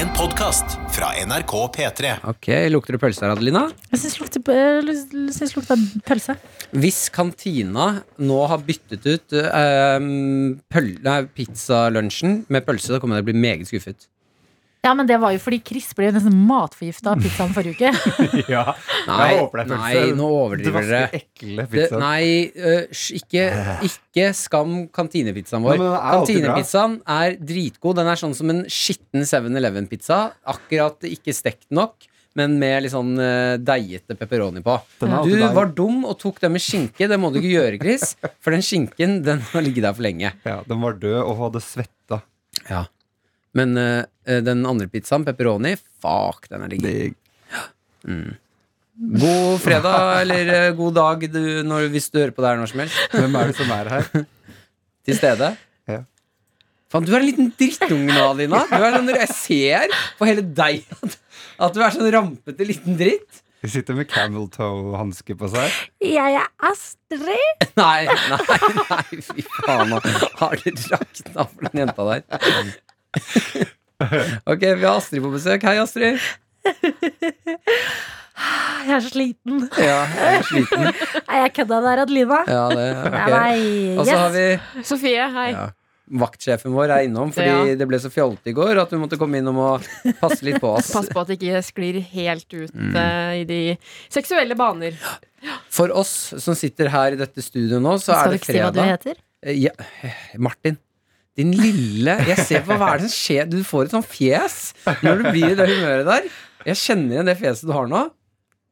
En podcast fra NRK P3. Ok, Lukter det pølse her, Adelina? Jeg syns lukter, jeg synes lukter pølse. Hvis kantina nå har byttet ut eh, pøl- nei, pizzalunsjen med pølse, da kommer jeg til å bli meget skuffet. Ja, men det var jo fordi Chris ble nesten matforgifta av pizzaen forrige uke. Ja, Nei, jeg håper det er pølse. nei nå overdriver Det var dere. så ekle Det, pizza. nei, eh, sj- ikke, ikke skam kantinepizzaen vår. Nei, men den er alltid bra. Kantinepizzaen er dritgod. Den er sånn som en skitten 7-Eleven-pizza. Akkurat ikke stekt nok, men med litt sånn eh, deigete pepperoni på. Den Du er alltid der. var dum og tok den med skinke. Det må du ikke gjøre, Chris. For den skinken den har ligget der for lenge. ja, den var død og hadde svetta. Men eh, eh, den andre pizzaen, pepperoni, fuck, den er digg. God fredag eller eh, god dag du, når, hvis du hører på det her når som helst. Hvem er det som er her? Til stede. Ja. Faen, du er en liten drittunge nå, Adelina. Du er sånn, jeg ser på hele deg at, at du er sånn rampete liten dritt. De sitter med camel toe-hanske på seg. Jeg er Astrid. Nei, nei, nei, fy faen. nå Har det rakna for den jenta der? Ok, vi har Astrid på besøk. Hei, Astrid. Jeg er så sliten. Ja, jeg er sliten. Nei, jeg kødda der, Adelina. Ja, det, ok. Nei, Og så har vi Sofie, hei. ja, vaktsjefen vår er innom, fordi Ja. det ble så fjollete i går at hun måtte komme innom og passe litt på oss. Pass på at det ikke sklir helt ut eh, i de seksuelle baner. For oss som sitter her i dette studioet nå, så Skal er du det ikke si hva du fredag. heter? Eh, Ja, Martin. Din lille Jeg ser på hva er det som skjer. Du får et sånt fjes når du blir i det humøret der. Jeg kjenner igjen det fjeset du har nå.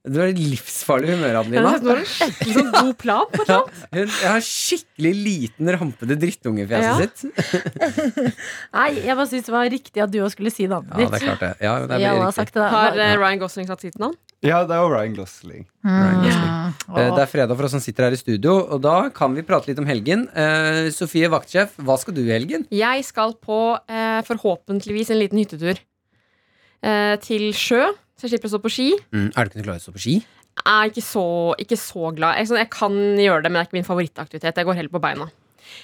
Du er i livsfarlig humør, Nå Adelina. har du Eh, en skikkelig sånn god plan. på et eller annet. Hun jeg har skikkelig liten, rampete drittungefjeset Ja. sitt. Nei, jeg bare syns det var riktig at du òg skulle si navnet Ja, det er ditt. klart det. Ja, det er Vi alle veldig har riktig. sagt det. Har da. eh, Ryan Gosling satt sitt navn? Ja, det er jo Ryan Gosling. Ryan Gosling. Mm. Eh, Det er fredag for oss som sitter her i studio, og da kan vi prate litt om helgen. Eh, Sofie Vaktsjef, hva skal du i helgen? Jeg skal på eh, forhåpentligvis en liten hyttetur eh, til sjø. Så jeg slipper å stå på ski. Mm, er du ikke klar til å stå på ski? Jeg er ikke så, ikke så glad. Jeg, sånn, jeg kan gjøre det, men det er ikke min favorittaktivitet. Jeg går heller på beina.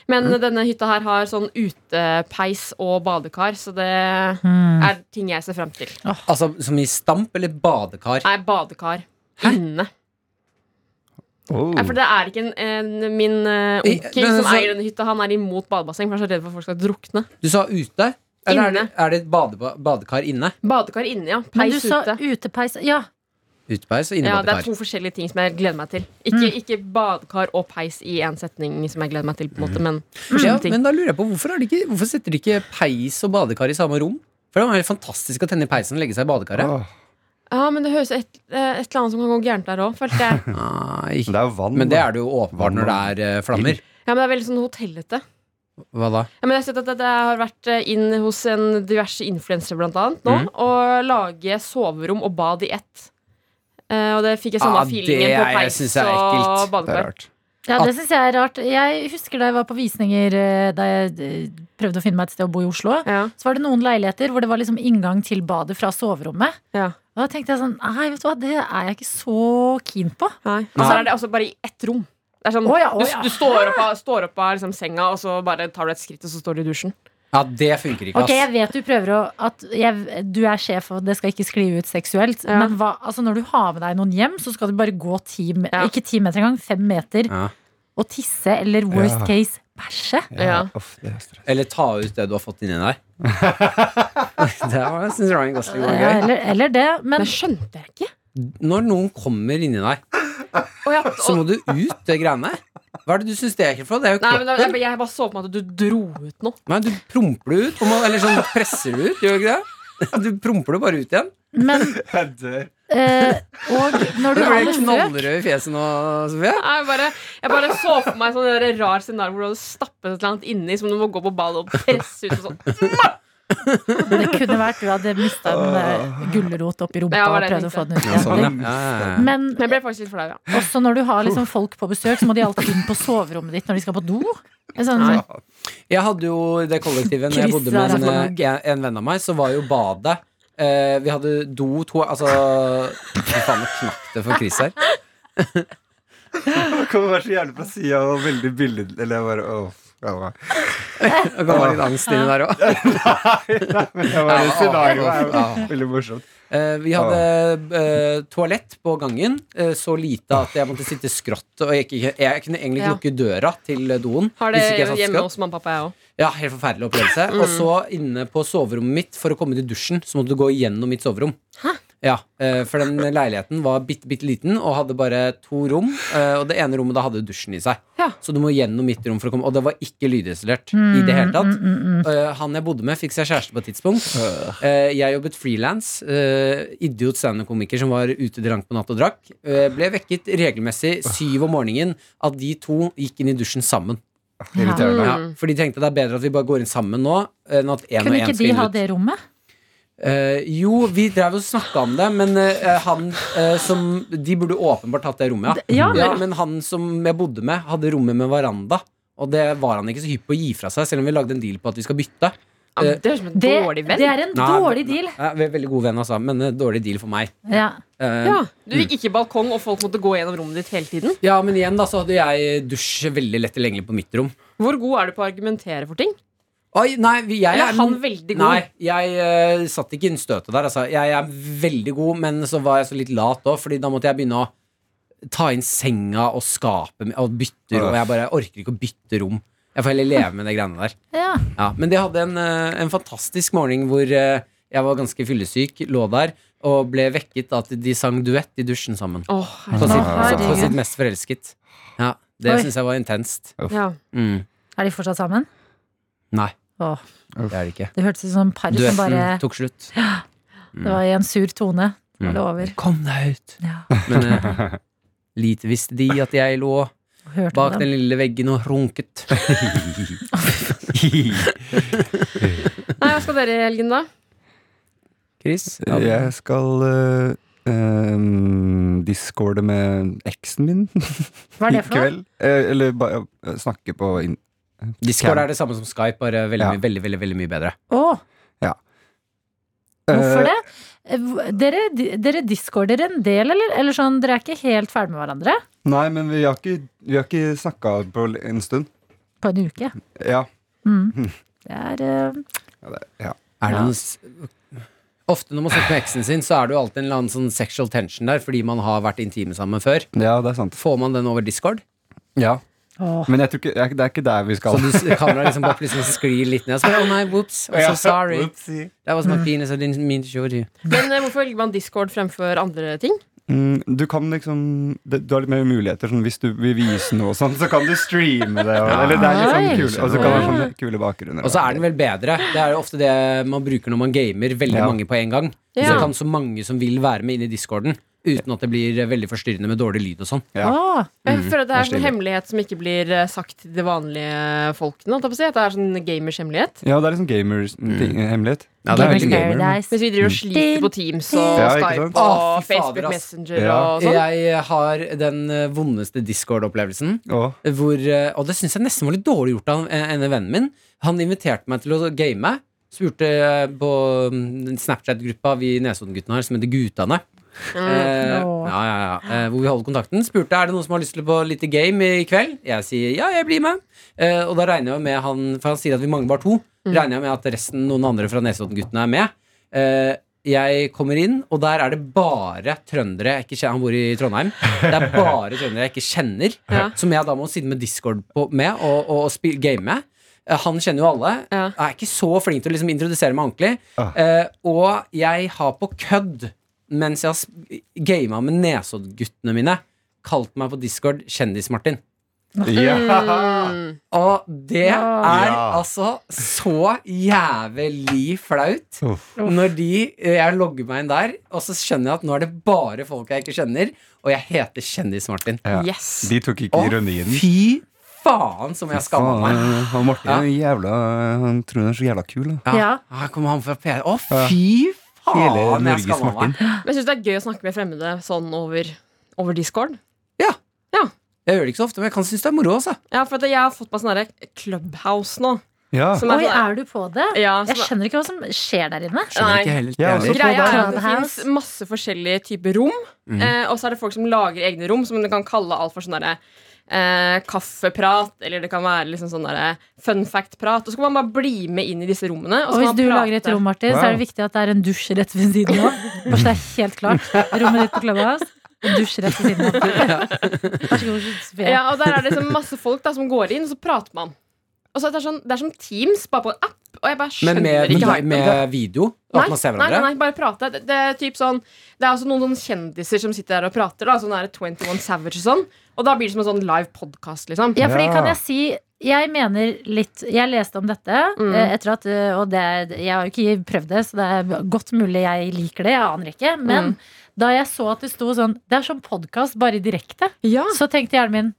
Men denne hytta her har sånn utepeis og badekar, så det Mm. er ting jeg ser frem til. Altså Som i stamp eller badekar? Nei, badekar. Inne. Oh. Nei, for det er ikke en, en, min eh, I- onkel men altså- som så- eier denne hytta. Han er imot badebasseng, for han er så redd for at folk skal drukne. Du sa ute? Eller er det, Inne. er det et badeba badekar inne? Badekar inne, ja. Men du Peis sa ute. utepeis Ja, Utepeis og Ja, det er innebadekar. to forskjellige ting som jeg gleder meg til. Ikke, Mm. ikke badekar og peis i én setning som jeg gleder meg til, på en måte, men Mm. Ja, forskjellige ting. men da lurer jeg på hvorfor, er det ikke, hvorfor setter de ikke peis og badekar i samme rom? For det var helt fantastisk å tenne i peisen og legge seg i badekaret. Åh, Ja, men det høres et, eh, et eller annet som kan gå gærent der òg, følte jeg. Nei. men det er jo vann. Ah, Men det da. er det jo åpenbart når det er eh, flammer. Ja, men det er veldig sånn hotellete. Hva da? Ja, men jeg har sett at det- det har vært eh, inn hos en diverse influensere, blant annet, Mm. nå, å lage soverom og bad i ett. Eh, og det fikk jeg samme Ah, det feelingen er- på jeg peis synes det er ekkelt. og Det er badekar. rart. ja det syns jeg er rart. Jeg husker da jeg var på visninger eh, da jeg eh, prøvde å finne meg et sted å bo i Oslo. Ja, Så var det noen leiligheter hvor det var liksom inngang til badet fra soverommet. ja. Og da tenkte jeg sånn Nei, vet du hva, det er jeg ikke så keen på. Nei. Og så Nei. er det altså bare i ett rom. Det er sånn, Å ja, å ja. Du, du står opp av, står opp av liksom, senga, og så bare tar du et skritt, og så står du i dusjen. Ja, det funker ikke, Ok, jeg ass. vet du prøver å at jeg, Du er sjef, og det skal ikke skli ut seksuelt. Ja. Men hva, altså når du har med deg noen hjem, så skal du bare gå ti, me- Ja. ikke ti meter engang, fem meter, Ja. og tisse, eller worst Ja. case, bæsje. Ja, Ja. uff, det er stress. Eller ta ut det du har fått inni deg. det var- jeg synes Ryan Gosling var Ja, gøy. Eh, eller, eller det. Men Det skjønte jeg ikke. Når noen kommer inni deg, Å ja, så og- må du ut det greiene. Hva er det du syns det er ekkelt for? Det er jo Nei, men da, kroppen. jeg, jeg bare så på meg at du dro ut noe. Nei, du promper det ut. og man- Eller sånn presser det ut, gjør du ikke det? Du promper det bare ut igjen. Men Jeg dør. eh, Og når Du du har ble med frøk knallrød i fjeset nå, Sofie. Jeg bare, jeg bare så for meg sånn der rar scenario hvor du hadde stappet et eller annet inni som du må gå på badet og presse ut. og sånn Det kunne vært du hadde mista en eh, gulrot oppi rumpa Ja, det var og det jeg prøvd å få den ut Ja, sånn, igjen. ja. Ja, ja, ja. Men Men jeg ble faktisk litt flau, ja. også når du har liksom folk på besøk, så må de alltid inn på soverommet ditt når de skal på do. Det er Sånn, Jeg hadde jo i det kollektivet når jeg Chris bodde med er altså- for en, eh, en venn av meg, så var jo badet eh, Vi hadde do, to Altså Fy faen, nå knakk det for Chris her. Det kommer være så jævlig fra sida og veldig billig. Eller jeg bare, åh. Det var- Det kan være litt angst inni der òg. Men det var et scenario. Det er Ja. jo veldig morsomt. Vi hadde eh, toalett på gangen, eh, så lite at jeg måtte sitte skrått. Og jeg, ikke, jeg kunne egentlig ikke Ja. lukke døra til eh, doen. Har det hvis ikke jeg satt hjemme Mm. skrått. hos mamma og pappa, jeg òg. Ja, helt forferdelig opplevelse. Og så inne på soverommet mitt, for å komme til dusjen, så måtte du gå igjennom mitt soverom. Ja, eh, For den leiligheten var bitte, bitte liten og hadde bare to rom. eh, Og det ene rommet da hadde dusjen i seg. Ja. Mm, Så du må gjennom mitt rom for å komme. Og det var ikke lydisolert i det hele mm, tatt. Eh, Han jeg bodde med, fikk seg kjæreste på et tidspunkt. Eh, Jeg jobbet frilans. Idiot standup-komiker som var ute drank på natt og drakk. Eh, Ble vekket regelmessig syv om morgenen at de to gikk inn i dusjen sammen. Irriterende. Ja, for de tenkte det er bedre at vi bare går inn sammen nå enn at en og Mm. Kunne en ikke skal de inn ha ut. det rommet? Eh, jo, vi drev og snakka om det, men eh, han eh, som De burde åpenbart hatt det rommet, Det- ja, men- Men han som jeg bodde med, hadde rommet med veranda. Og det var han ikke så hypp på å gi fra seg, selv om vi lagde en deal på at vi skal bytte. Ja, men det høres ut som en Det, dårlig venn. det er en Nei, dårlig deal. Ja, vi er veldig gode venn, altså, men eh, dårlig deal for meg. Ja. Eh, Ja, Du gikk ikke i balkong, og folk måtte gå gjennom rommet ditt hele tiden. ja, men igjen, da, så hadde jeg dusj veldig lett tilgjengelig på mitt rom. Hvor god er du på å argumentere for ting? Oi, nei, vi- jeg er Eller er han veldig god? Nei, jeg eh, satt ikke inn støtet der. Altså. Jeg, er veldig god, men så var jeg så litt lat òg, Fordi da måtte jeg begynne å ta inn senga og skapet mi- og bytte rom. Og jeg bare jeg orker ikke å bytte rom. Jeg får heller leve med de greiene der. Ja. Ja, men de hadde en, eh, en fantastisk morgen hvor eh, jeg var ganske fyllesyk, lå der og ble vekket av at de sang duett i dusjen sammen. Åh, På sitt, herregud. på sitt mest forelsket. Ja, det Oi. syns jeg var intenst. ja. Mm. Er de fortsatt sammen? Nei, Åh, det er det ikke. det hørtes ut som par som bare Duetten tok slutt. Det var i en sur tone. Da Mm. var det over. Kom deg ut! Ja, Men eh, lite visste de at jeg lå hørte bak den. den lille veggen og runket. Nei, hva skal dere i helgen, da? Chris? Ja. Jeg skal eh, em, discorde med eksen min Hva er i det for noe? kveld. Eh, eller ba, snakke på in Discord er det samme som Skype, bare veldig, Ja. mye- veldig, veldig, veldig mye bedre. Åh, Eh, hvorfor det? Eh, hvor- Dere, dere discorder en del, eller? Eller sånn, dere er ikke helt ferdig med hverandre Nei, men vi har ikke, vi har ikke snakka på l- en stund. på en uke? Ja. Mm. Det er eh, Ja, det, ja. Er det Ja. noen s- Ofte når man snakker med eksen sin, så er det jo alltid en eller annen sånn sexual tension der, fordi man har vært intime sammen før. ja, det er sant. Får man den over discord? Ja. åh. Men jeg tror ikke, jeg, det er ikke der vi Så skal. du s- kameraet liksom bare plutselig sklir litt ned. Og så bare, oh, nei, whoops, I'm so sorry. Oopsie. That was my penis, I didn't mean to show you. Men eh, Hvorfor velger man Discord fremfor andre ting? Mm, du kan liksom det, Du har litt mer muligheter. Sånn, hvis du vil vise noe, og sånn, så kan du streame det. Og, eller det er litt sånn Oi. kule, og så kan du ha sånne kule bakgrunner. Og så er den vel bedre. Det er jo ofte det man bruker når man gamer. Veldig Ja. mange på en gang. Ja. Så kan så mange som vil være med inn i discorden. Uten at det blir eh, veldig forstyrrende med dårlig lyd og sånn. Ja. Åh, Jeg føler at Det er forstår. sånn hemmelighet som ikke blir eh, sagt til de vanlige folkene. holdt jeg på å si, At det er sånn gamers hemmelighet. Ja, det er liksom gamers ting, hemmelighet. Mm. Ja, det er Gamers veldig gamer. Paradise. Mens vi driver og sliter på Teams og Ja, ikke Skype sant? Å, og fy fader, Facebook ass. Messenger Ja. og sånn. Jeg har den eh, vondeste discord-opplevelsen. Å, Hvor, eh, og det syns jeg nesten var litt dårlig gjort av eh, en vennen min. Han inviterte meg til å game. Spurte eh, på mm, Snapchat-gruppa vi Nesodden-guttene har, som heter Gutane. Mm. Eh, Åh. ja, ja, ja. Eh, hvor vi holder kontakten. Spurte er det noen som har lyst til på lite game i kveld. Jeg sier ja, jeg blir med. Eh, og da regner jeg med han For han sier at vi mangler bare to. Mm. Regner jeg med at resten noen andre fra Nesodden-guttene er med. Eh, jeg kommer inn, og der er det bare trøndere jeg ikke kjenner. Han bor i Trondheim. Det er bare trøndere jeg ikke kjenner, Ja. som jeg da må sitte med discord på, med og, og, og spille game med. Eh, Han kjenner jo alle. Ja. Jeg er ikke så flink til å liksom introdusere meg ordentlig. Ah. Eh, og jeg har på kødd, mens jeg har sp- gama med Nesodd-guttene mine, kalt meg på Discord Kjendis-Martin. Ja. Mm. Og det Ja. er Ja. altså så jævlig flaut. Uff. Når de, eh, jeg logger meg inn der, og så skjønner jeg at nå er det bare folk jeg ikke kjenner, og jeg heter Kjendis-Martin. Ja. Yes. De tok ikke Å, ironien. fy faen som jeg skamma meg. Faen, Og Martin er en jævla Han tror han er så jævla kul. Da. Ja. Ja. Her kommer han fra P... Å, fy faen, jeg Norges skamma meg. Men jeg syns det er gøy å snakke med fremmede sånn over, over Discord. Jeg gjør det ikke så ofte, men jeg kan synes det er moro, altså. Ja, for at Jeg har fått meg sånn derre Clubhouse nå. Ja. Som er Oi, sånn, er du på det? ja, Jeg som, skjønner ikke hva som skjer der inne. Nei. Ikke heller, Ja, heller. altså- Greia er at det finnes Clubhouse. masse forskjellige typer rom, eh, og så er det folk som lager egne rom, som du kan kalle alt for sånn derre eh, kaffeprat, eller det kan være liksom sånn der, fun fact-prat. Og så kan man bare bli med inn i disse rommene. Og så kan hvis man du prate. lager et rom, Martin, så er det Wow. viktig at det er en dusj rett ved siden av. Bare så det er helt klart. Rommet ditt på Clubhouse, en dusj rett ved siden av. Vær så god, Sofie. Ja, og der er det liksom masse folk da, som går inn, og så prater man. Og så er det, sånn, det er som Teams, bare på en app. Og jeg bare Men skjønner med, ikke med, hypen. video? At Nei, man ser nei, hverandre? nei, nei, bare prate. Det, det er typ sånn Det er også noen sånne kjendiser som sitter der og prater. Da, sånn der 21 Savage og sånn. Og da blir det som en sånn live podkast, liksom. Ja, fordi Ja. kan jeg si jeg mener litt Jeg leste om dette Mm. eh, etter at eh, Og det, jeg har jo ikke prøvd det, så det er godt mulig jeg liker det. Jeg aner ikke. Men da jeg så at det sto sånn Det er som podkast, bare i direkte. Ja, Så tenkte hjernen min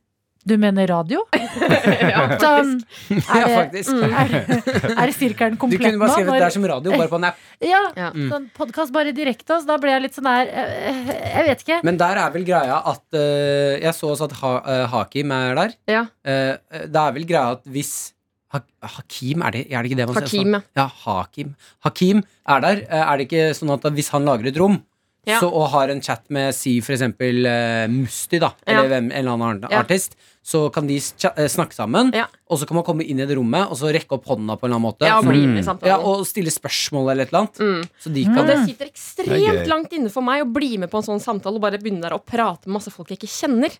Du mener radio? ja Sånn, er, faktisk. Ja, det, mm, faktisk. er, er sirkelen Du komplett kunne nå? bare skrevet når- 'det er som Mm. radio', bare på en app. ja, Ja. sånn podkast bare direkte. Så da ble jeg litt sånn der eh, Jeg vet ikke. Men der er vel greia at eh, Jeg så også at ha, eh, Hakim er der. Ja. Eh, eh, det er vel greia at hvis ha, Hakim, er det, er det ikke det man sier? Hakim, ja. Ja, Hakim. Hakim er der. Eh, er det ikke sånn at hvis han lager et rom Ja. så, og har en chat med si for eksempel eh, Musti, da, Ja. eller hvem, en eller annen ar- Ja. artist, så kan de s- cha- eh, snakke sammen, Ja. og så kan man komme inn i det rommet og så rekke opp hånda på en eller annen måte. ja, og Så- bli med i samtalen. ja, og stille spørsmål eller et eller annet. Mm. Så de kan Og det sitter Det er gøy. ekstremt langt inne for meg å bli med på en sånn samtale og bare begynne der å prate med masse folk jeg ikke kjenner.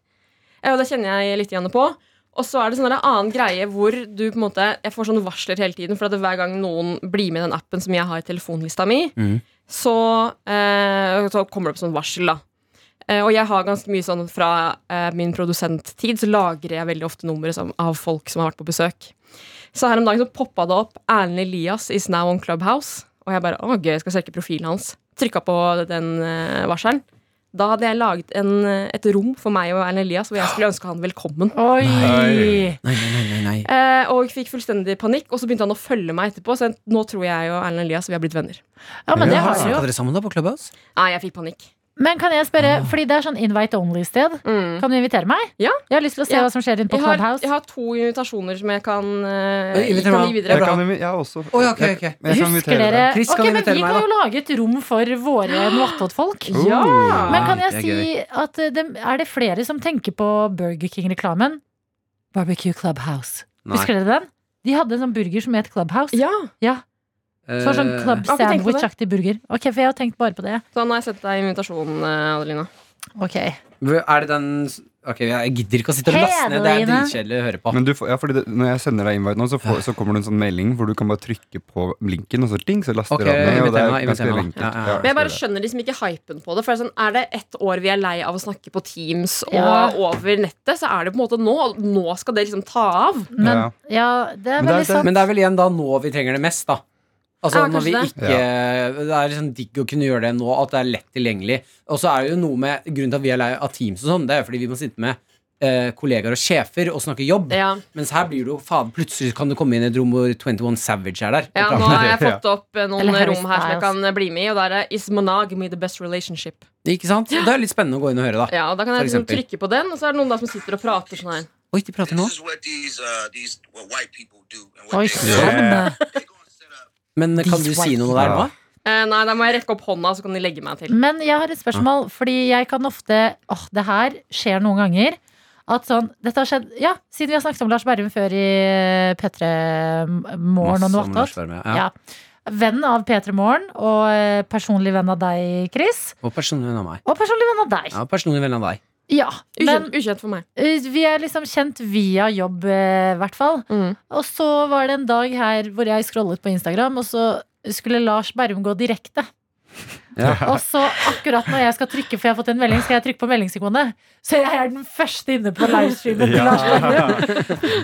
Eh, Og det kjenner jeg litt igjen på. Og så er det sånn der en annen greie hvor du på en måte Jeg får sånne varsler hele tiden, for at hver gang noen blir med i den appen som jeg har i telefonlista mi, Mhm. så, eh, så kommer det opp sånn varsel, da. Eh, og jeg har ganske mye sånn fra eh, min produsenttid, så lagrer jeg veldig ofte numre som, av folk som har vært på besøk. Så her om dagen så poppa det opp Erlend Elias is now on Clubhouse. Og jeg bare å gøy, jeg skal sjekke profilen hans. Trykka på den eh, varselen. Da hadde jeg laget en, eh, et rom for meg og Erlend Elias hvor jeg skulle ønske han velkommen. Oi! Nei. Nei, nei, nei, nei, nei. Eh, og fikk fullstendig panikk, og så begynte han å følge meg etterpå. Så jeg, nå tror jeg og Erlend Elias vi har blitt venner. Ja, men det har Snakket vi jo. dere sammen da på Clubhouse? Nei, jeg fikk panikk. Men kan jeg spørre, Ah. fordi det er sånn invite only-sted. Mm. Kan du invitere meg? Ja. Jeg har lyst til å se Ja. hva som skjer inne på Jeg har, jeg Clubhouse. har to invitasjoner som jeg kan, eh, Oi, inviter kan meg. gi Jeg, videre. kan, invi- jeg også. Å, ja, ok, Jeg- ok. men jeg kan Husker invitere dere deg. Chris kan Ok, men invitere vi meg, da. kan jo lage et rom for våre noatot-folk. Ja! Oh. Men kan Ah, jeg det er si at eh, dem- er det flere som tenker på Burger King-reklamen? Barbecue Clubhouse. Nei. Husker dere den? De hadde en sånn burger som het Clubhouse. ja. Ja, så det var sånn Eh, club har ikke tenkt på det. sandwich-aktig burger. Ok, for jeg har tenkt bare på det. Så nå har jeg sendt deg invitasjonen, eh, Adelina. Ok. Er det den Ok, jeg gidder ikke å sitte og Hei, laste ned. Det er Adeline. dritkjedelig å høre på. Men du får, ja, fordi det, når jeg sender deg invite nå, så, får, så kommer det en sånn melding hvor du kan bare trykke på linken, og så ding, så laster Ok, han ned. Og det inviter er meg, ganske inviter meg. enkelt. Ja, ja, ja. Men jeg skal bare gjøre det. skjønner liksom ikke hypen på det. For det er, sånn, er det ett år vi er lei av å snakke på Teams og Ja. over nettet, så er det på en måte nå. og Nå skal det liksom ta av. Men ja, Ja. det er Men det er- veldig sant. Men det er vel igjen da nå vi trenger det mest, da. Altså Ja, når vi kanskje ikke Det er liksom digg å kunne gjøre det nå, at det er lett tilgjengelig. Og så er det jo noe med grunnen til at vi er lei av Teams og sånn, det er jo fordi vi må sitte med eh, kollegaer og sjefer og snakke jobb. Ja, Mens her blir det jo faen Plutselig kan du komme inn i et rom hvor 21 Savage er der. ja og Nå prater. har jeg fått opp eh, noen Eller Harry rom her som jeg Styles. kan eh, bli med i, og der er Is monogamy the best relationship? Ikke sant? Det er litt spennende å gå inn og høre, da. Ja, og Da kan For jeg liksom eksempel. trykke på den, og så er det noen da som sitter og prater sånn her. Oi, de prater nå. This is what these uh, these what white people do. And what Oi, they Yeah. sånn. eh. they gonna set up. Men kan du These si noe white der nå? Eh, nei, da må jeg rekke opp hånda, så kan de legge meg til. Men jeg har et spørsmål, fordi jeg kan ofte Åh, det her skjer noen ganger. At sånn, dette har skjedd Ja, siden vi har snakket om Lars Berrum før i P3 Morgen Masse og noe om Lars attåt. Berrum, ja. Ja. Venn av P3 Morgen og eh, personlig venn av deg, Chris. Og personlig venn av meg. Og personlig venn av deg. Ja, personlig venn av deg. Ja. Men Ukjent, ukjent for meg. eh, vi er liksom kjent via jobb, eh, i hvert fall. Mm. Og så var det en dag her hvor jeg scrollet på Instagram, og så skulle Lars Berrum gå direkte. Og så akkurat når jeg skal trykke, for jeg har fått en melding, skal jeg trykke på meldingsekonet. Så jeg er den første inne på livestreamen til Lars Berrum.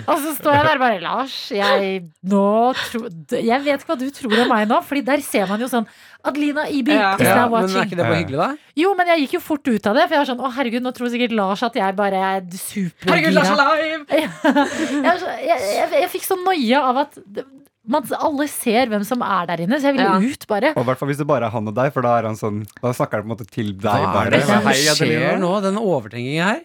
Og så står jeg der bare Lars, jeg, nå tro, jeg vet ikke hva du tror om meg nå, Fordi der ser man jo sånn Adelina Ibi Ja. is Ja, now men er watching. ikke det bare hyggelig, da? Jo, men jeg gikk jo fort ut av det, for jeg var sånn Å, herregud, nå tror sikkert Lars at jeg bare er Herregud, Lars supergira. er live! Ja. jeg, er så- jeg, jeg, jeg fikk så noia av at det- man, alle ser hvem som er der inne, så jeg ville Ja. ut, bare. Og i hvert fall hvis det bare er han og deg, for da er han sånn Da snakker han på en måte til deg Hva bare. er det Bare, som Hei, skjer Adelina. nå? Den overtrenkingen her?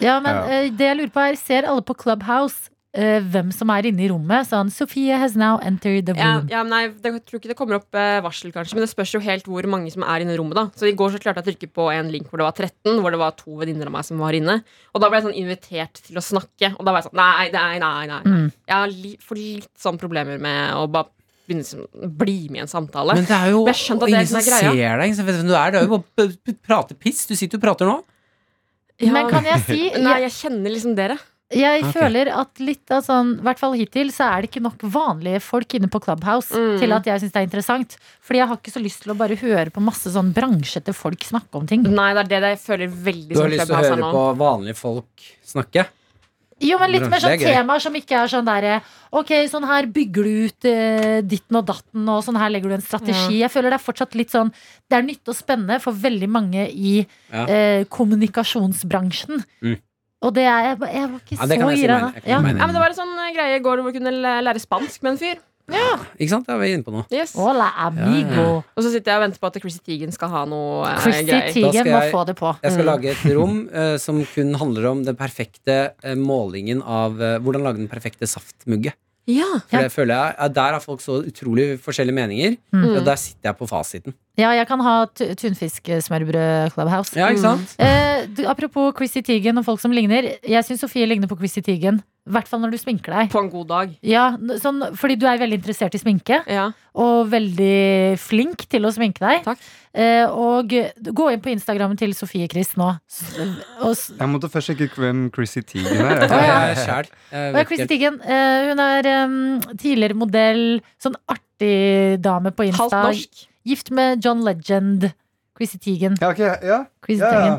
Ja, men Ja. eh, det jeg lurer på er, ser alle på Clubhouse eh, hvem som er inne i rommet. Sånn 'Sofie has now entered the Ja, room'. ja, men nei, det, jeg tror ikke det kommer opp eh, varsel, kanskje. Men det spørs jo helt hvor mange som er inne i rommet. da Så I går så klarte jeg å trykke på en link hvor det var 13, hvor det var to venninner av meg som var inne. Og da ble jeg sånn invitert til å snakke. Og da var jeg sånn Nei, nei, nei. nei. Mm. Mm. Jeg har li får litt sånn problemer med å bare begynne som, bli med i en samtale. Men det er jo Men jeg skjønte at det er ingen som den der greia. ser deg. Ingen som vet hvem du er. Det er jo bare p- p- prate piss. Du sitter og prater nå. Ja, Men kan jeg si Nei, Jeg, jeg kjenner liksom dere. jeg Ok. føler at litt av sånn, i hvert fall hittil, så er det ikke nok vanlige folk inne på Clubhouse Mm. til at jeg syns det er interessant. Fordi jeg har ikke så lyst til å bare høre på masse sånn bransjete folk snakke om ting. Nei, det er det jeg føler veldig sånn Du har som lyst til å Clubhouse er høre nå. på vanlige folk snakke. Jo, men litt mer sånn Bransje er gøy. temaer som ikke er sånn derre Ok, sånn her bygger du ut eh, ditten og datten, og sånn her legger du en strategi. Jeg føler det er fortsatt litt sånn Det er nytt og spennende for veldig mange i Ja. eh, kommunikasjonsbransjen. Mm. Og det er Jeg, var- jeg var ikke Ja, det kan så jeg si gira. meg enig- jeg da. kan Ja. meg enig i. Ja, men det var en sånn eh, greie i går hvor vi kunne læ- lære spansk med en fyr. Ikke sant? Det er vi inne på nå. Yes. Og Hola, amigo. Ja, så sitter jeg og venter på at Chrissy Teigen skal ha noe eh, Christy greier. Da skal Teigen må jeg- få det på. Jeg skal Mm. lage et rom eh, som kun handler om den perfekte eh, målingen av eh, hvordan lage den perfekte saftmugge. Ja. For Ja. det føler jeg, eh, Der har folk så utrolig forskjellige meninger, Mm. og der sitter jeg på fasiten. Ja, jeg kan ha tu- tunfisksmørbrød Clubhouse. Ja, ikke sant? Eh, du, apropos Chrissy Teigen og folk som ligner. Jeg syns Sofie ligner på Chrissy Teigen. I hvert fall når du sminker deg. På en god dag. Ja, n- sånn, fordi du er veldig interessert i sminke, Ja. og veldig flink til å sminke deg. Takk. Eh, og du- gå inn på Instagrammen til Sofie Chris nå. S- Og, s- Jeg måtte først sjekke hvem Chrissy Teigen er. Jeg er sjæl. Jeg og ja, vet Chrissy ikke helt. Teigen, eh, hun er em, tidligere modell, sånn artig dame på Halvt Insta. norsk. Gift med John Legend. Chrissy Teigen. Ja, ok, ja, Chrissy ja, Teigen. ja.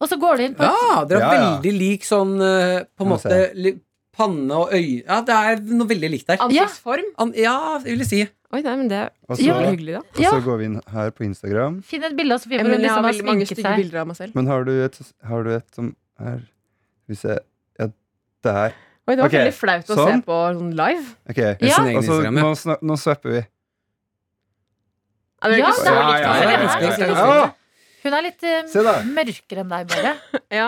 Og så går du inn på Ja, dere er Ja, ja. veldig lik sånn eh, på en Må se. måte li, panne og øye Ja, det er noe veldig likt der. Ansiktsform. An, ja, det vil jeg si. Oi, nei, men det er Og Ja, veldig så, hyggelig, da. og så går vi inn her på Instagram. Finn et bilde av Sofie hvor Men hun jeg liksom har har veldig mange sminket seg. stygge bilder av meg selv. Men har du et, har du et som er Skal vi se Ja, der. Oi, det var Ok, veldig flaut å se sånn. på sånn live. Ok. Ja. Sin egen Og så Instagram, ja. Altså, nå, sna- nå swapper vi. Ja, det er Ja, ikke så det er likt, Ja, altså. ja, Jeg ja, elsker ja, det. ja. Hun er litt eh, Se der. mørkere enn deg, bare. Ja.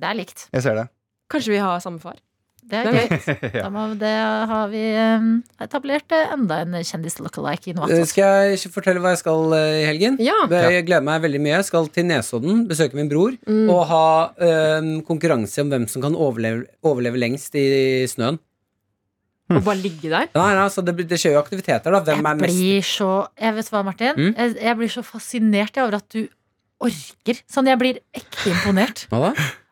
Det er likt. Jeg ser det. Kanskje vi har samme far. Det er Hvem greit. vet? Da ja. må, det har vi um, etablert eh, enda en kjendis-lookalike i noe Eh, annet. Skal jeg ikke fortelle hva jeg skal eh, i helgen? Ja. Jeg gleder meg veldig mye. Jeg skal til Nesodden, besøke min bror, Mm. Mm. og ha øhm, konkurranse om hvem som kan overleve, overleve lengst i snøen. Og bare ligge der. Nei, nei, så det, blir- det skjer jo aktiviteter, da. Hvem Jeg er mest blir så Jeg vet hva, Martin. Mm? Jeg, jeg blir så fascinert jeg, over at du orker. Sånn, jeg blir ekte imponert. Hva da?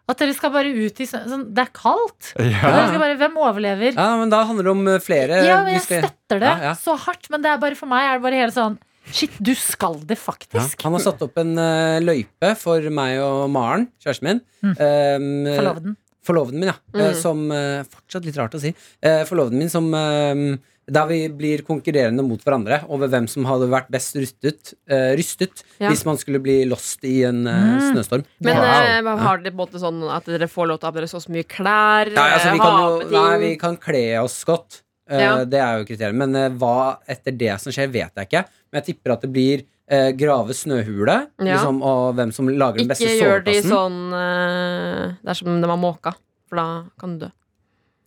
At dere skal bare ut i snø- sånn, Det er kaldt. Og Ja. dere skal bare, hvem overlever? Ja, men da handler det om eh, flere Ja, men jeg hvis det- støtter det Ja, ja. så hardt, men det er bare for meg er det bare helt sånn Shit, du skal det Ja. faktisk. Han har satt opp en eh, løype for meg og Maren, kjæresten min. Mm. Ehm, eh, Forloveden. forloveden min, ja. eh, Mm. Som eh, Fortsatt litt rart å si. Eh, Forloveden min som eh, Der vi blir konkurrerende mot hverandre over hvem som hadde vært best rustet, eh, rystet Ja. hvis man skulle bli lost i en eh, Mm. snøstorm. Men Wow. eh, Ja. har dere på en måte sånn at dere får lov til å ha på dere så og så mye klær? Nei, altså, vi eh, kan ha jo med ting? Nei, vi kan kle oss godt. Eh, Ja. Det er jo kriteriet. Men eh, hva etter det som skjer, vet jeg ikke. Men jeg tipper at det blir eh, grave snøhule, Ja. liksom, og hvem som lager den beste Ikke gjør de soveplassen. sånn eh, Det er som de har måka, for da kan du dø.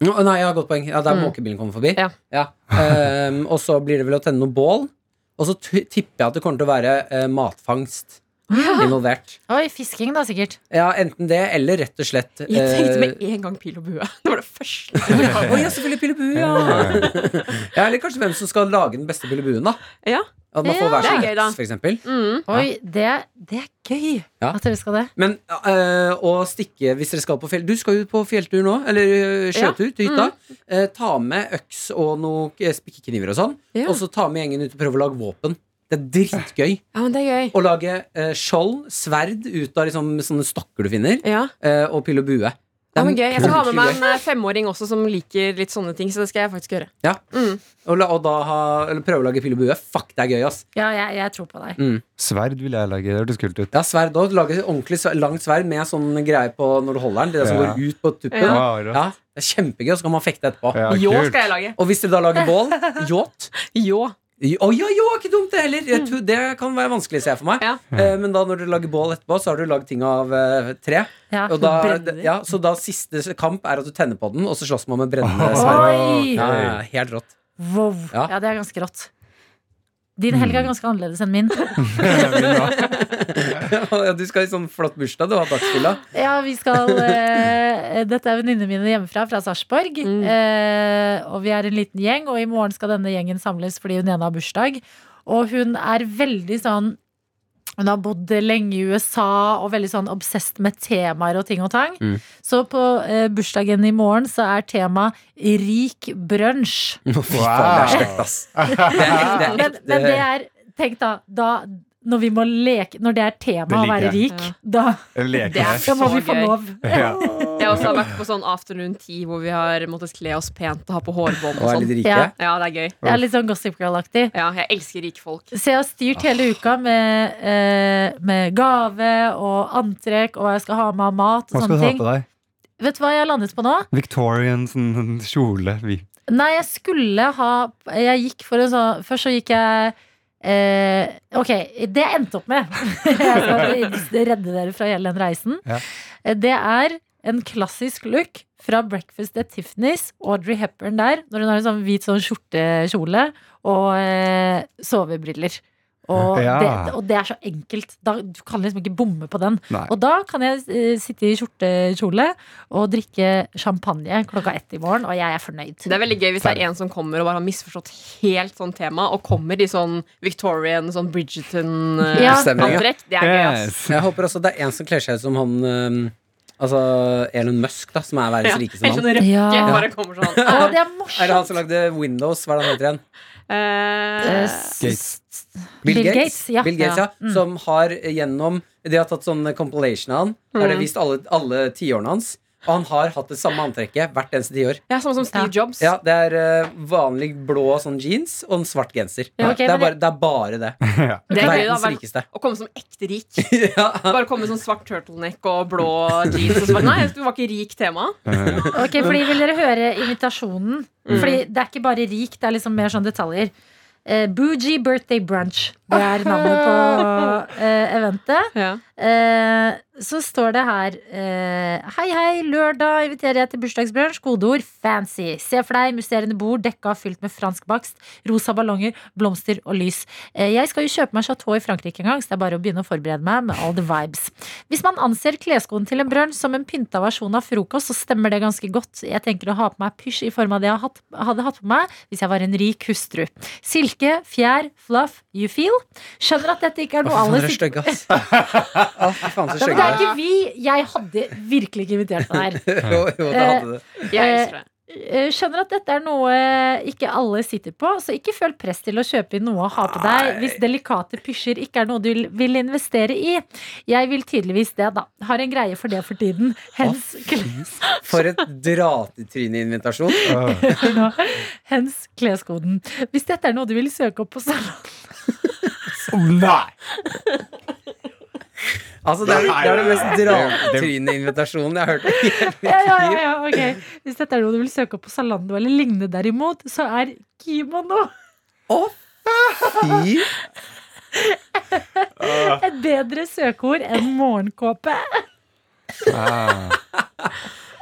Nå, Nei, jeg har godt poeng. Ja, der Mm. måkebilen kommer forbi. Ja. Ehm, og så blir det vel å tenne noe bål. Og så t tipper jeg at det kommer til å være eh, matfangst involvert. Oi, fisking, da, sikkert. Ja, enten det, eller rett og slett Jeg tenkte eh, med en gang pil og bue. Det var det første. Å ja, selvfølgelig Pillebue, ja. ja! Eller kanskje hvem som skal lage den beste Pillebuen, da. Ja. At man Ja. får hver sin Det er gøy, da. heks, for eksempel. Mm. Oi, det, det er gøy Ja. at dere skal det. Men eh, å stikke hvis dere skal på fjell Du skal jo på fjelltur nå, eller eh, sjøtur til hytta. Mm. Eh, ta med øks og noen eh, spikkekniver og sånn. Ja. Og så ta med gjengen ut og prøve å lage våpen. Det er dritgøy. ja, men det er gøy. Å lage eh, skjold, sverd, ut av liksom, sånne stokker du finner, Ja. eh, og pil og bue. Det er Ja, men gøy. Jeg skal ha med meg kult en eh, femåring også som liker litt sånne ting, så det skal jeg faktisk gjøre. Ja. Mm. Og, la, og da ha, eller prøve å lage pil og bue. Fuck, det er gøy, ass. Ja, jeg, jeg tror på deg. Sverd vil jeg lage. Det hørtes kult ut. Ja, sverd òg. Lage ordentlig sv- langt sverd med sånn greie på når du holder den. Det der som Ja. går ut på tuppen. Ja. Ja. Wow, rått. det er Kjempegøy, og så kan man fekte etterpå. Ja, Ljå kult. skal jeg lage. Og hvis dere da lager bål, yacht, Ljå. Å ja, jo, ikke dumt det heller! Jeg tror, det kan være vanskelig, ser jeg for meg. Ja. Eh, men da når du lager bål etterpå, så har du lagd ting av eh, tre. Ja. Og da, Brenner. ja, så da siste kamp er at du tenner på den, og så slåss man med brennende sverd. Oi! Ja, ja, ja, helt rått. Wow. Ja. Mm. Ja, det er ganske rått. Din helg er ganske annerledes enn min. Ja, du skal i sånn flott bursdag, du har dagsfylla. Ja, vi skal eh, Dette er venninnene mine hjemmefra, fra Sarpsborg. Eh, og vi er en liten gjeng, og i morgen skal denne gjengen samles fordi hun ene har bursdag. Og hun er veldig sånn hun har bodd lenge i USA og veldig sånn obsessed med temaer og ting og tang. Mm. Så på eh, bursdagen i morgen så er temaet rik brunsj. Faen, det er stygt, ass. Det er, det er Men, ekte- men det er Tenk da, da når vi må leke Når det er tema å Det liker være jeg. rik, Ja. da, Jeg leker Det er det. da må Så vi få gøy. lov. Ja. Jeg også har vært på sånn afternoon tea hvor vi har måttet kle oss pent og ha på Å, hårbånd og er sånn. litt rike? Ja. Ja, det er gøy. Det er litt sånn Gossip Girl-aktig. Ja, jeg elsker rike folk. Så jeg har styrt hele uka med, eh, med gave og antrekk og hva jeg skal ha med av mat. og Hva skal du sånne ha ting på deg? Vet du hva jeg har landet på nå? Victorian sånn kjole. Vi- Nei, jeg skulle ha Jeg gikk for en sånn Først så gikk jeg eh, Ok, det jeg endte opp med Jeg skal redde dere fra hele den reisen. Ja. Eh, Det er en klassisk look fra Breakfast at Tiffany's. Audrey Hepburn der, når hun har en sånn hvit sånn skjortekjole og eh, sovebriller. Og, Ja. det, og det er så enkelt. Da, du kan liksom ikke bomme på den. Nei. Og da kan jeg eh, sitte i skjortekjole og drikke champagne klokka ett i morgen, og jeg er fornøyd. Det er veldig gøy hvis det er en som kommer og bare har misforstått helt sånn tema, og kommer i sånn Victorian, sånn Ja. Bridgerton-antrekk. Det er gøy, Yes. ass. Jeg håper også det er en som kler seg ut som han øhm, Altså Elon Musk, da, som er verdens Ja, rikeste mann. Eller sånn røkke Ja. bare kommer sånn. Å, Er det det er han som morsomt! lagde Windows? Hva er det han heter igjen? Eh, Gates. Bill Gates, ja. Mm. Bill Gates, ja. Som har eh, gjennom De har tatt sånn eh, compilation av han. Der Mm. det er vist alle, alle tiårene hans. Og han har hatt det samme antrekket hvert eneste tiår. ja, samme som Steve Jobs. Ja, det er eh, vanlig blå sånn jeans og en svart genser. Ja, ok, det, er men bare, det er bare det. Det er gøy, da. Verdens Bare- rikeste. Å komme som ekte rik. ja. Bare komme med sånn svart turtleneck og blå jeans. Og så bare, Nei, du var ikke rik tema. Ok, fordi Vil dere høre invitasjonen? Fordi Det er ikke bare rik, det er liksom mer sånn detaljer. Eh, Boogie Birthday Brunch. Det er navnet på eh, eventet. Ja. Eh, så står det her eh, Hei, hei, lørdag inviterer jeg til bursdagsbrunsj. Kodeord fancy. Se for deg musserende bord dekka fylt med fransk bakst, rosa ballonger, blomster og lys. Eh, jeg skal jo kjøpe meg chateau i Frankrike en gang, så det er bare å begynne å forberede meg med all the vibes. Hvis man anser kleskoden til en brunsj som en pynta versjon av frokost, så stemmer det ganske godt. Jeg tenker å ha på meg pysj i form av det jeg har hatt, hadde hatt på meg hvis jeg var en rik hustru. Silke, fjær, fluff, you feel. Skjønner at dette ikke er Å, noe fy faen, dere alle er sitter stygge, ass. Å, fy faen, så ja, men stygge det er dere er. ikke vi. Jeg hadde virkelig ikke invitert meg her. Jo, jo, det hadde det. Jeg elsker det. Eh, Skjønner at dette er noe eh, ikke alle sitter på, så ikke føl press til å kjøpe inn noe å ha på deg hvis delikate pysjer ikke er noe du vil investere i. Jeg vil tydeligvis det, da. Har en greie for det for tiden. Hens, kles, For et dratetryne-invitasjon. Åh. hør nå. Hens kleskoden. Hvis dette er noe du vil søke opp på salong Nei! Altså, det er, Nei, det er den nei, mest nei. dratetryne invitasjonen jeg har hørt. i hele mitt ja, ja, ja, liv. ja, ok. Hvis dette er noe du vil søke opp på Zalando eller lignende derimot, så er kimono Fy et bedre søkeord enn morgenkåpe. Ah.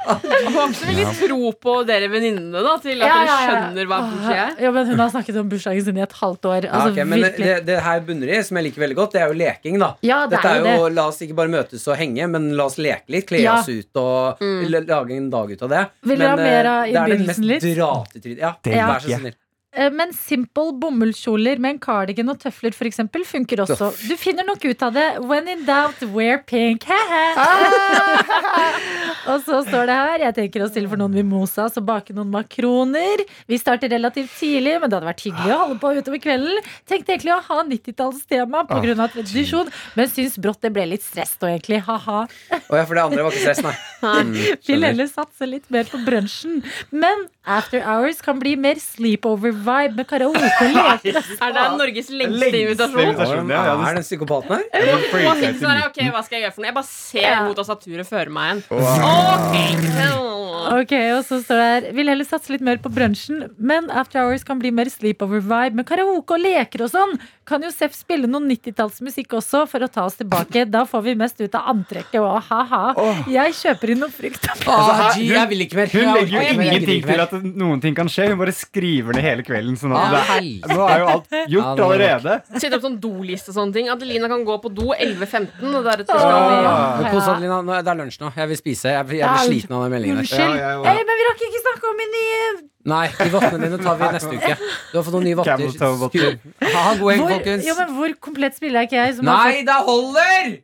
Jeg har også veldig tro på dere venninnene, da, til at Ja, dere ja, ja. skjønner hva bursdag er. Ja, men hun har snakket om bursdagen sin i et halvt år. Ja, Altså, ok, men det, virkelig. det, det her bunner i, som jeg liker veldig godt, det er jo leking, da. Ja, det Dette er jo jo, La oss ikke bare møtes og henge, men la oss leke litt. Kle Ja. Mm. oss ut og l- lage en dag ut av det. Vil men dere ha mer av eh, det er det innbydelsen mest litt? dratetryne Ja, Det vær liker så jeg. snill. Eh, Men simple bomullskjoler med en cardigan og tøfler for eksempel, funker også. Du finner nok ut av det. When in doubt, wear pink. Ah! og så står det her Jeg tenker å stille for noen mimosas og bake noen makroner. Vi starter relativt tidlig, men det hadde vært hyggelig å holde på utover kvelden. Tenkte egentlig å ha 90-tallstema Ah. pga. tradisjon, men syns brått det ble litt stress da, egentlig. Ha-ha. Å ja, for det andre var ikke stress, nei. Mm, Vil skjønner. heller satse litt mer på brunsjen. Men After Hours kan bli mer sleepover-vibe med karaoke og leker. Er det Norges lengste Lengste invitasjon? invitasjon. Hvem ja, ja, er den psykopaten her? det- det Og freaka jeg Hitler er, til ok, Hva skal jeg gjøre for noe? Jeg bare ser Ja. mot tastaturet føre meg en. Ok Ok, og så står det her Vil heller satse litt mer på brunsjen, men After Hours kan bli mer sleepover-vibe med karaoke og leker og sånn. Kan jo Seff spille noen 90-tallsmusikk også for å ta oss tilbake? Da får vi mest ut av antrekket og ha-ha. Jeg kjøper inn noe frukt. Altså, her- Haji, hun- jeg vil ikke mer. Hun Jeg orker legger ikke jo mer, jeg gidder ingenting ikke til mer. at noen ting kan skje. Hun bare skriver ned hele kvelden. Sånn Ja, at det er, hel- nå er jo alt gjort Ja, nå er det allerede. Sitte opp sånn doliste og sånne ting. Adelina kan gå på do 11.15, og deretter skal vi Åh. Men Kos deg, Lina. Nå er- Det er lunsj nå. Jeg vil spise. Jeg jeg blir Au. sliten av den meldingen der. Unnskyld. Ja, ja, ja. Eh, Men vi rakk ikke snakke om min nye Nei, de vottene dine tar vi neste uke. Du har fått noen nye votter. Camel toe votter. Skru- Ha en god helg, hvor, folkens. jo, men hvor komplett spiller jeg ikke jeg? Som har Nei, det holder! fått-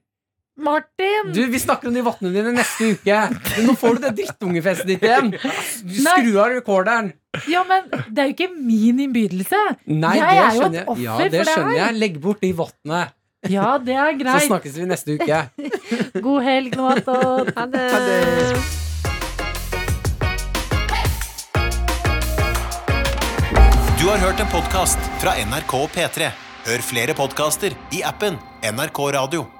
Martin! Du, Vi snakker om de vottene dine neste uke. Men nå får du det drittungefestet ditt igjen. Du Nei. Skru av recorderen. Ja, men det er jo ikke min innbydelse. Nei, Jeg det er jo et skjønner jeg. Ja, offer det for det skjønner her. jeg. Legg bort de vottene. Ja, det er Så greit. snakkes vi neste uke. God helg nå, Anton. Ha det. Du har hørt en podcast fra NRK P3. Hør flere podcaster i appen NRK Radio.